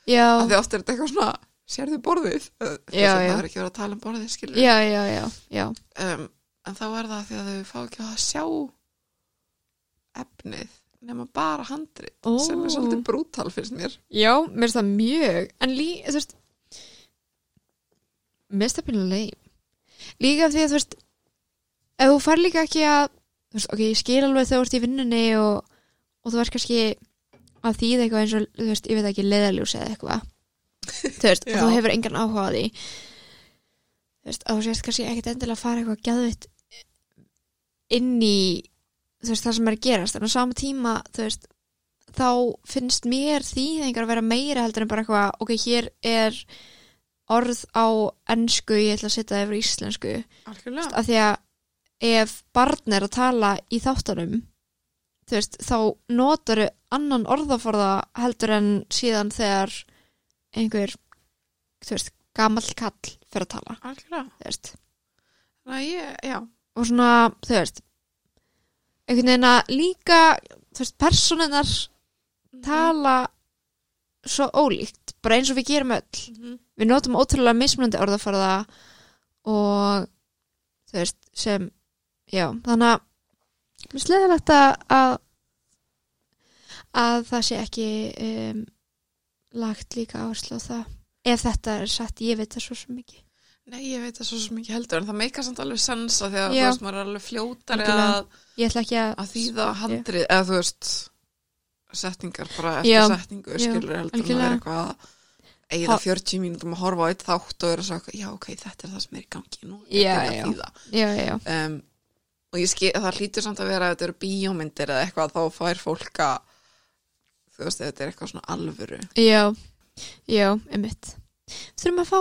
Speaker 1: já,
Speaker 2: af því oft er þetta eitthvað svona sérðu borðið, Þú veist,
Speaker 1: Já,
Speaker 2: það
Speaker 1: já.
Speaker 2: er ekki verið að tala um borðið skilur,
Speaker 1: já, já, já, já,
Speaker 2: um, en þá er það af því að þau fá ekki að sjá efnið nema bara handrit
Speaker 1: Ó.
Speaker 2: sem er svolítið brútal finnst mér
Speaker 1: já, mér finnst það mjög, en lí, þú veist, mér finnst það pinnuleg, líka því að þú veist, ef þú fær líka ekki að, þú veist, ok, ég skil alveg þegar þú ert í vinnunni og, og þú ert kannski að þýða eitthvað eins og, þú veist, ég veit ekki, leðaljúsi eða eitthvað, þú veist, og
Speaker 2: Já.
Speaker 1: þú hefur engan áhuga á því, þú veist, að þú sést kannski ekkit endilega að fara eitthvað gæðvitt inn í þú veist, það sem er að gerast, en á sama tíma þú veist, þá finnst mér þýðingar að vera meira heldur en bara eitthvað, ok, hér er orð á ennsku ég ætla að setja það yfir í íslensku
Speaker 2: Algjörlega.
Speaker 1: af því að ef barn er að tala í þáttunum þú veist, þá notar annan orðaforða heldur en síðan þegar einhver, þú veist, gamall kall fyrir að tala,
Speaker 2: Algjörlega.
Speaker 1: þú veist
Speaker 2: Næ, ég, já.
Speaker 1: og svona, þú veist einhvern veginn að líka þú veist, persónunar tala svo ólíkt, bara eins og við gerum öll
Speaker 2: Mhm.
Speaker 1: við notum ótrúlega mismunandi orðaforða og þú veist, sem já, þannig að mér sleðilegt að að- að það sé ekki um, lagt líka áherslu á það ef þetta er satt, ég veit það svo sem ekki
Speaker 2: Nei, ég veit það svo sem ekki heldur, en það meikar samt alveg sensa því
Speaker 1: Já.
Speaker 2: að þú veist, maður er alveg fljótari
Speaker 1: Algjörlega.
Speaker 2: að,
Speaker 1: ég ætla ekki að
Speaker 2: að þýða handrið, eða þú veist, setningar bara eftir
Speaker 1: Já.
Speaker 2: setningu,
Speaker 1: Já,
Speaker 2: skilur heldur en að
Speaker 1: algjörlega.
Speaker 2: vera eitthvað að eigða
Speaker 1: Ha-
Speaker 2: 40 mínútum að horfa á eitt þátt og vera svo, eitthvað, já, ok, þetta er það sem er í gangi nú,
Speaker 1: Já,
Speaker 2: þetta er
Speaker 1: já.
Speaker 2: að þýða.
Speaker 1: já, já, já,
Speaker 2: Um, og ég skil, það hlýtur samt að vera að þetta eru bíómyndir eða eitthvað, þá fær fólk að, þú veist, ef þetta er eitthvað svona alvöru.
Speaker 1: Já, já, emitt. Þurfum að fá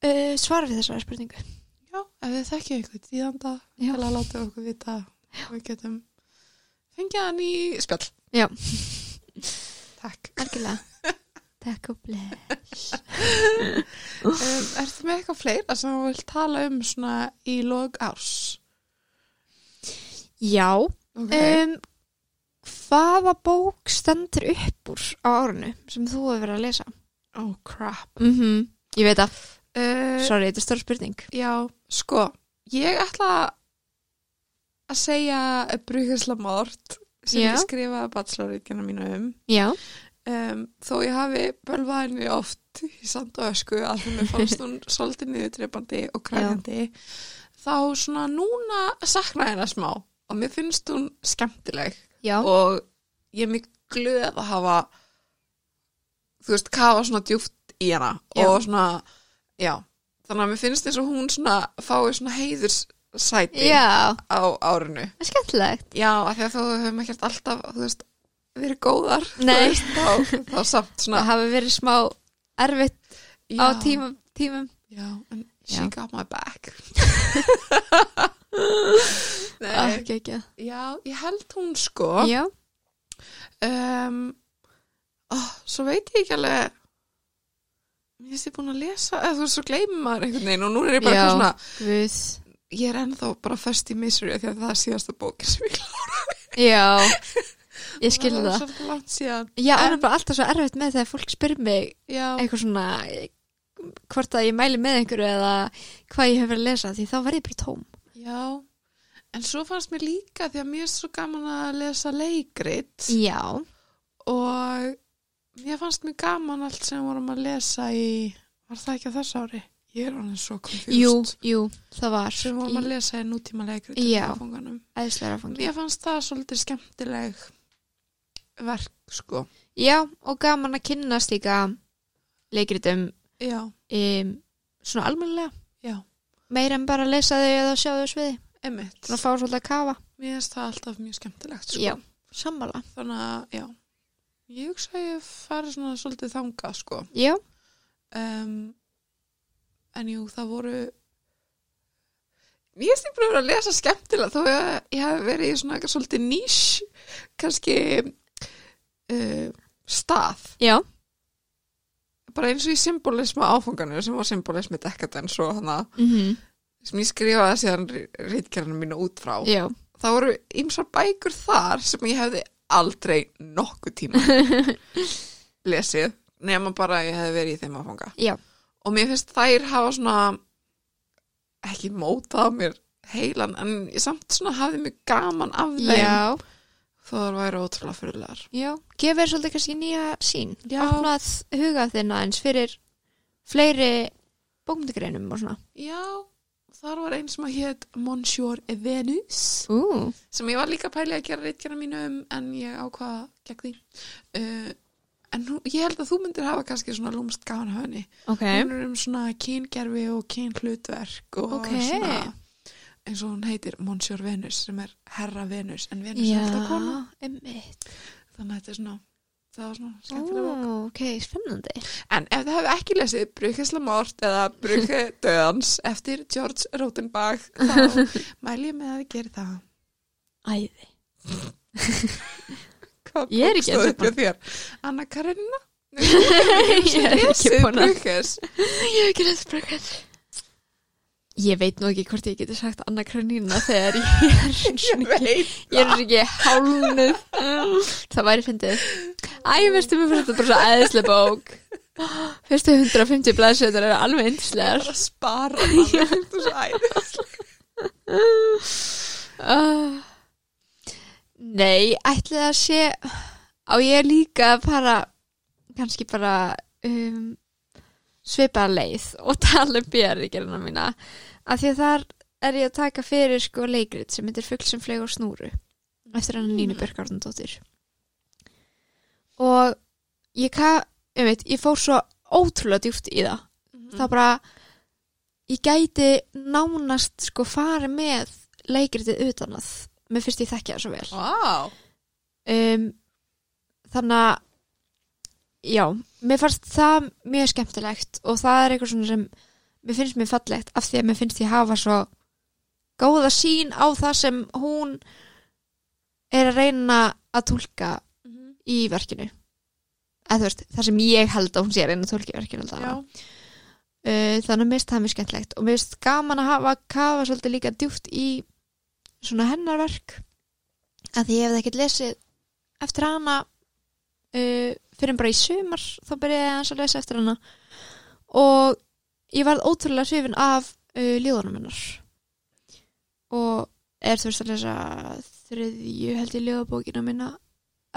Speaker 1: uh, svar við þessari spurningu.
Speaker 2: Já, ef við þekkjum einhvern tíðanda
Speaker 1: Já.
Speaker 2: til að láta okkur vita og við getum fengið hann í spjall.
Speaker 1: Já.
Speaker 2: Takk.
Speaker 1: Algjörlega. Takk og bless.
Speaker 2: Um, ertu með eitthvað fleira sem þú vilt tala um svona í log árs?
Speaker 1: Já,
Speaker 2: Ok.
Speaker 1: um, hvaða bók stendur upp úr á árinu sem þú hefur verið að lesa?
Speaker 2: oh crap.
Speaker 1: Mm Ég veit að,
Speaker 2: Uh,
Speaker 1: sorry, þetta er stór spurning.
Speaker 2: já, sko, ég ætla að segja brugislamort sem
Speaker 1: Já.
Speaker 2: ég skrifaði bachelorritkina mínu um.
Speaker 1: Já,
Speaker 2: um, þó ég hafi bölvað henni oft í sand og ösku að því mér fannst hún svolítið niðurdreipandi og kræfjandi þá svona núna sakna ég hennar smá og mér finnst hún skemmtileg
Speaker 1: já,
Speaker 2: og ég er mjög glöð að hafa þú veist, kafa svona djúft í hana
Speaker 1: Já.
Speaker 2: og svona, já þannig að mér finnst eins og hún svona fái svona heiðursæti
Speaker 1: já,
Speaker 2: á árinu
Speaker 1: það er skemmtilegt.
Speaker 2: Já, af því að þú hefum ekkert alltaf, þú veist, verið góðar,
Speaker 1: Nei.
Speaker 2: þú veist, þá, þá samt svona.
Speaker 1: Það hafa verið smá erfitt
Speaker 2: Já,
Speaker 1: á tímum, tímum.
Speaker 2: Já, en
Speaker 1: Já.
Speaker 2: she got my back. Nei,
Speaker 1: Ah, ekki, ekki.
Speaker 2: já, ég held hún sko.
Speaker 1: Já,
Speaker 2: Um, ó, svo veit ég ekki alveg, ég veist ég búin að lesa, eða þú veist, svo gleymir maður einhvern veginn og nú er ég bara
Speaker 1: Já.
Speaker 2: eitthvað svona,
Speaker 1: við,
Speaker 2: ég er ennþá bara föst í misery af því að það er síðasta bókin sem ég kláði.
Speaker 1: já, ég skilði það.
Speaker 2: er svolítið langt síðan.
Speaker 1: Já, en,
Speaker 2: En-
Speaker 1: það er bara alltaf svo erfitt með þegar fólk spyr mig
Speaker 2: Já,
Speaker 1: eitthvað svona eh, hvort að ég mæli með einhverju eða hvað ég hef verið að lesa því þá verð ég bara tóm.
Speaker 2: Já, en svo fannst mér líka því að mér er svo gaman að lesa leikrit
Speaker 1: Já,
Speaker 2: og mér fannst mér gaman allt sem vorum að lesa í, var það ekki á þessu ári? Ég er hann svo konfjúst.
Speaker 1: jú, jú, það var
Speaker 2: Sem vorum að
Speaker 1: í
Speaker 2: lesa í nútíma leikrit
Speaker 1: Já. æðislega fangi.
Speaker 2: Mér fannst það svolítið skemmtileg verk, sko.
Speaker 1: Já, og gaman að kynnast líka leikritum
Speaker 2: Já,
Speaker 1: um, svona almennilega,
Speaker 2: já,
Speaker 1: meira en bara að lesa þau eða sjá þau á sviði,
Speaker 2: emitt.
Speaker 1: svona fá svolítið að kafa.
Speaker 2: Mér finnst það alltaf mjög skemmtilegt, sko.
Speaker 1: Já, sammála.
Speaker 2: Þannig að, já, ég hugsa að ég fari svona svolítið þangað, sko.
Speaker 1: Já,
Speaker 2: um, en jú, það voru ég veist ég búin að vera að lesa skemmtilega þó að ég hef verið í svona eitthvað svolítið nýs kannski uh, eh, stað
Speaker 1: já,
Speaker 2: bara eins og í symbolisma áfanganu sem var symbolismi dekadens og þannig
Speaker 1: mm -hmm.
Speaker 2: sem ég skrifaði síðan rítkerðanum mínu út frá
Speaker 1: já,
Speaker 2: það voru ymsar bækur þar sem ég hefði aldrei nokkuð tíma lesið nema bara að ég hefði verið í þeim áfanga
Speaker 1: já,
Speaker 2: og mér finnst þær hafa svona ekki mótað á mér heilan en ég samt svona hafði mér gaman af þeim
Speaker 1: já,
Speaker 2: þó þar væri ótrúlega fyrirlegar
Speaker 1: já gefur þér svolítið kannski nýja sín
Speaker 2: Já.
Speaker 1: opnað huga þinn aðeins fyrir fleiri bókmyndagreinum og svona
Speaker 2: já, þar var einn sem að hétt Monsieur Venus
Speaker 1: Ú,
Speaker 2: sem ég var líka pælið að gera reitgerna mínu um en ég ákvaða gegn því uh, en nú, ég held að þú myndir hafa kannski svona lúmst gaman af henni
Speaker 1: ok
Speaker 2: hún er um svona kyngerfi og kynhlutverk og
Speaker 1: Ok.
Speaker 2: svona eins og hún heitir Monsieur Venus sem er herra Venus en Venus er alltaf kona
Speaker 1: Já, emmitt
Speaker 2: þannig að þetta er svona það var svona skemmtilega bók
Speaker 1: Ó, ok, spennandi
Speaker 2: en ef þið hefði ekki lesið Brukesla Mort eða Bruke Döðans eftir George Rotenbach þá mæli ég með að þið gerir það
Speaker 1: Æði
Speaker 2: Hvað
Speaker 1: Ég er ekki
Speaker 2: bókstaf
Speaker 1: að
Speaker 2: upp hjá þér Anna Karenina
Speaker 1: Ég er ekki
Speaker 2: lesið
Speaker 1: búin að
Speaker 2: Brukes
Speaker 1: Ég hef ekki lesið Brugget Ég veit nú ekki hvort ég geti sagt Anna Kranína þegar ég er
Speaker 2: ég
Speaker 1: svona ekki
Speaker 2: veit
Speaker 1: Ég er ekki hálnu Það væri fyndið Æ, veistu, mér finnst þetta bara svo æðislega bók Fyrstu 150 blaðsöður eru alveg
Speaker 2: það er
Speaker 1: yndislegar
Speaker 2: að spara Anna, þú svo æðislega.
Speaker 1: uh, Nei, ætli það sé á ég líka að fara kannski bara um, svipaða leið og tala um björðigerina mína af því að þar er ég að taka fyrir sko leikrit sem heitir Fugl sem flegu á snúru eftir hann Nínu Björk Árnandóttir og ég, ka, um veit, ég fór svo ótrúlega djúpt í það
Speaker 2: Mm.
Speaker 1: þá bara ég gæti nánast sko farið með leikritið utan að mér fyrst ég þekkja það svo vel
Speaker 2: Vá.
Speaker 1: um, þannig að já, mér fannst það mjög skemmtilegt og það er eitthvað svona sem mér finnst mér fallegt af því að mér finnst ég hafa svo góða sín á það sem hún er að reyna að tólka í verkinu eða þú veist, það sem ég held að hún sé að reyna að tólka í verkinu alltaf
Speaker 2: Já.
Speaker 1: uh, þannig að mér finnst það mjög skemmtlegt og mér finnst gaman að hafa kafa svolítið líka djúft í svona hennarverk að því ég hefði ekkert lesið eftir hana uh, fyrir bara í sumar þá byrjaði ég aðeins að lesa eftir hana og ég varð ótrúlega hrifin af uh, ljóðanum hennar og er þú veist að lesa þriðju held ég ljóðabókina minna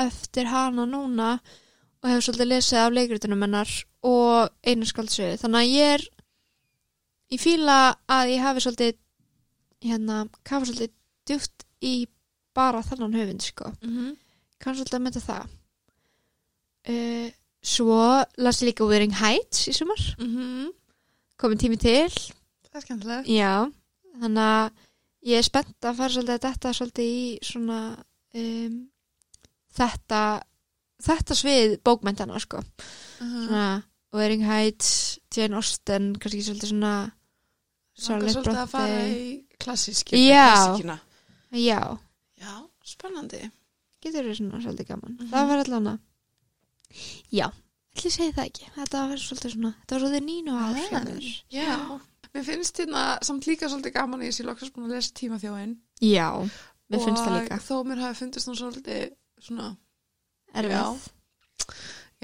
Speaker 1: eftir hana núna og hefur svolítið lesið af leikritunum hennar og einu skaldsöðu þannig að ég er ég fíla að ég hafi svolítið hérna, kafa svolítið djúft í bara þannan höfund sko, kann svolítið að mynda það uh, svo las ég líka Wuthering Heights í sumar, Mm-hmm. komin tími til
Speaker 2: það er skemmtilega
Speaker 1: já, þannig að ég er spennt að fara svolítið að detta svolítið í svona um, þetta þetta svið bókmyndana sko
Speaker 2: Uh-huh.
Speaker 1: svona Wearing Heights, Jane Austen kannski svolítið svona
Speaker 2: Langar
Speaker 1: Charlotte
Speaker 2: svolítið að fara
Speaker 1: Bronte.
Speaker 2: í klassíski
Speaker 1: Já.
Speaker 2: klassikina.
Speaker 1: já,
Speaker 2: Já, spennandi
Speaker 1: getur verið svona svolítið gaman
Speaker 2: Mhm.
Speaker 1: það var allan að já, ætli ég segi það ekki þetta var svolítið svona, þetta var svolítið nínu
Speaker 2: Ah.
Speaker 1: ár hjá mér.
Speaker 2: Já Mér finnst hérna samt líka svolítið gaman í þessi loksast búin að lesa tíma þjóin
Speaker 1: já, mér finnst það líka
Speaker 2: Og þó mér hafi fundist hún svolítið svona,
Speaker 1: erfið,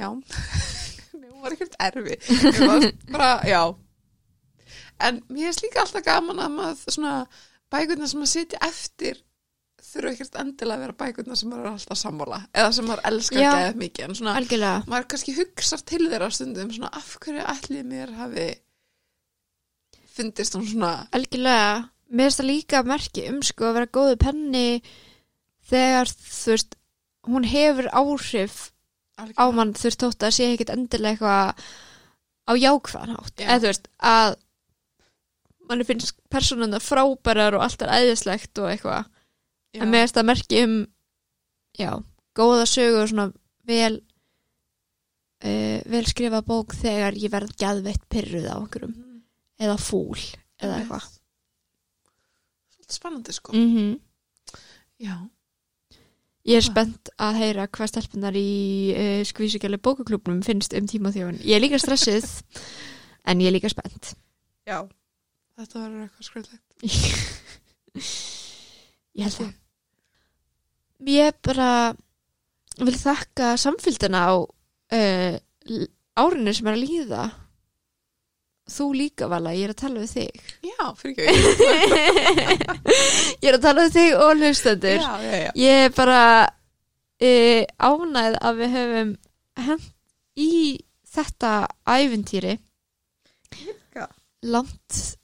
Speaker 2: já Nei, hún var ekkert erfi Mér var bara, já En mér finnst líka alltaf gaman að maður svona bækurnar sem maður sitja eftir þurfa ekkert endilega að vera bækurnar sem maður er alltaf sammála eða sem maður elskar
Speaker 1: Já.
Speaker 2: geðið mikið en svona
Speaker 1: algjörlega
Speaker 2: maður kannski hugsar til þeirra stundum svona af hverju allir mér hafi fundist hún svona
Speaker 1: algjörlega, mér finnst það líka merki um sko að vera góðu penni þegar þú veist hún hefur áhrif á mann þurft þótt að sé ekkert endilega eitthvað á jákvæðan hátt
Speaker 2: Já.
Speaker 1: eða þú veist að mann finnst persónuna frábærar og allt er æðislegt og eitthvað
Speaker 2: Já.
Speaker 1: en mér finnst það merki um já, góða sögu og svona vel uh, vel skrifa bók þegar ég verð gæðveitt pyrruð á okkurum
Speaker 2: Mhm.
Speaker 1: eða fúl eða
Speaker 2: Einmitt. sko.
Speaker 1: eitthvað
Speaker 2: Svolítið spennandi sko
Speaker 1: mm -hmm.
Speaker 2: já,
Speaker 1: Ég er spennt að heyra hvað stelpunar í uh, skvísugjali bókaklubnum finnst um tíma þjóðan. Ég er líka stressið, en ég er líka spennt.
Speaker 2: Já. Þetta verður eitthvað skröldlegt.
Speaker 1: ég held það. Ég bara vil þakka samfylgdina á uh, l- árinu sem er að líða. Þú líka, Vala, ég er að tala við þig.
Speaker 2: Já, fyrir ekki.
Speaker 1: Ég er að tala við þig og hlustendur.
Speaker 2: Já, já, já.
Speaker 1: Ég er bara uh, ánæð að við höfum hent í þetta æventýri
Speaker 2: Líka.
Speaker 1: langt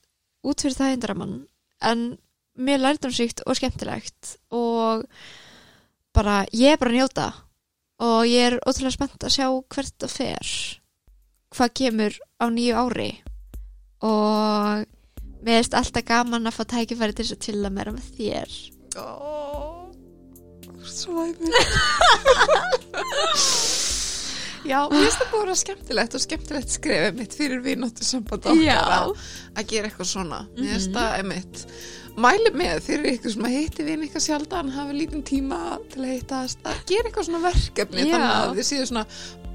Speaker 1: út fyrir það hindramann en mér lærdumsvíkt og skemmtilegt og bara, ég er bara að njóta og ég er ótrúlega spennt að sjá hvert það fer hvað kemur á nýju ári og mér erst alltaf gaman að fá tækifæri til þess að chilla meira með þér
Speaker 2: Ó, svæmi. Já, mér finnst það bara skemmtilegt og skemmtilegt skrefið mitt fyrir vinóttu samband okkar að- að gera eitthvað svona. Mér finnst
Speaker 1: Mhm.
Speaker 2: það emitt. Mæli með fyrir ykkur sem að hitti vin eitthvað sjaldan, hafi lítinn tíma til að hittast, að gera eitthvað svona verkefni
Speaker 1: Já.
Speaker 2: þannig að þið séu svona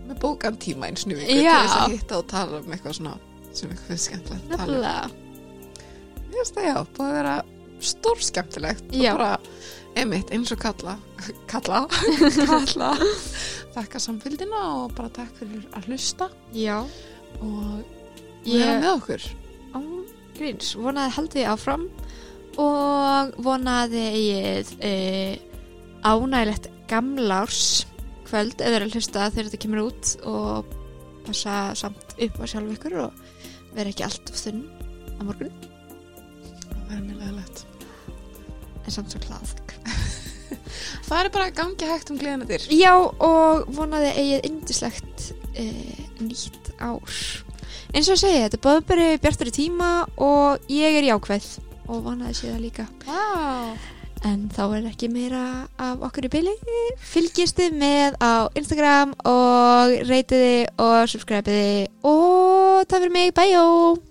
Speaker 2: með bókan tíma eins og ykkur til
Speaker 1: Já.
Speaker 2: þess að hitta og tala um eitthvað svona sem ykkur finnst skemmtilegt að tala um.
Speaker 1: Nefnilega.
Speaker 2: Mér finnst það já, búið að vera stór skemmtilegt
Speaker 1: Já.
Speaker 2: og bara, einmitt, eins og kalla kalla, kalla þakka samfélgina og bara takk fyrir að hlusta
Speaker 1: Já,
Speaker 2: og vera
Speaker 1: ég
Speaker 2: með okkur
Speaker 1: án gríns vonaði haldið áfram og vonaði ég e, ánægilegt gamlárs kvöld eða er að hlusta þegar þetta kemur út og passa samt upp á sjálf ykkur og vera ekki allt of þunn á morgun
Speaker 2: og vera með leðilegt
Speaker 1: en samt svo kláðk
Speaker 2: Það er bara gangi hægt um gleðina þér
Speaker 1: Já og vonaði eigið indislegt e, nýtt ár eins og að segja þetta er báðberi bjartari tíma og ég er jákvæð og vonaði sé það líka
Speaker 2: wow.
Speaker 1: En þá er ekki meira af okkur í byli. Fylgistu með á Instagram og reytiði og subscribeiði og það fyrir mig. Bæjó!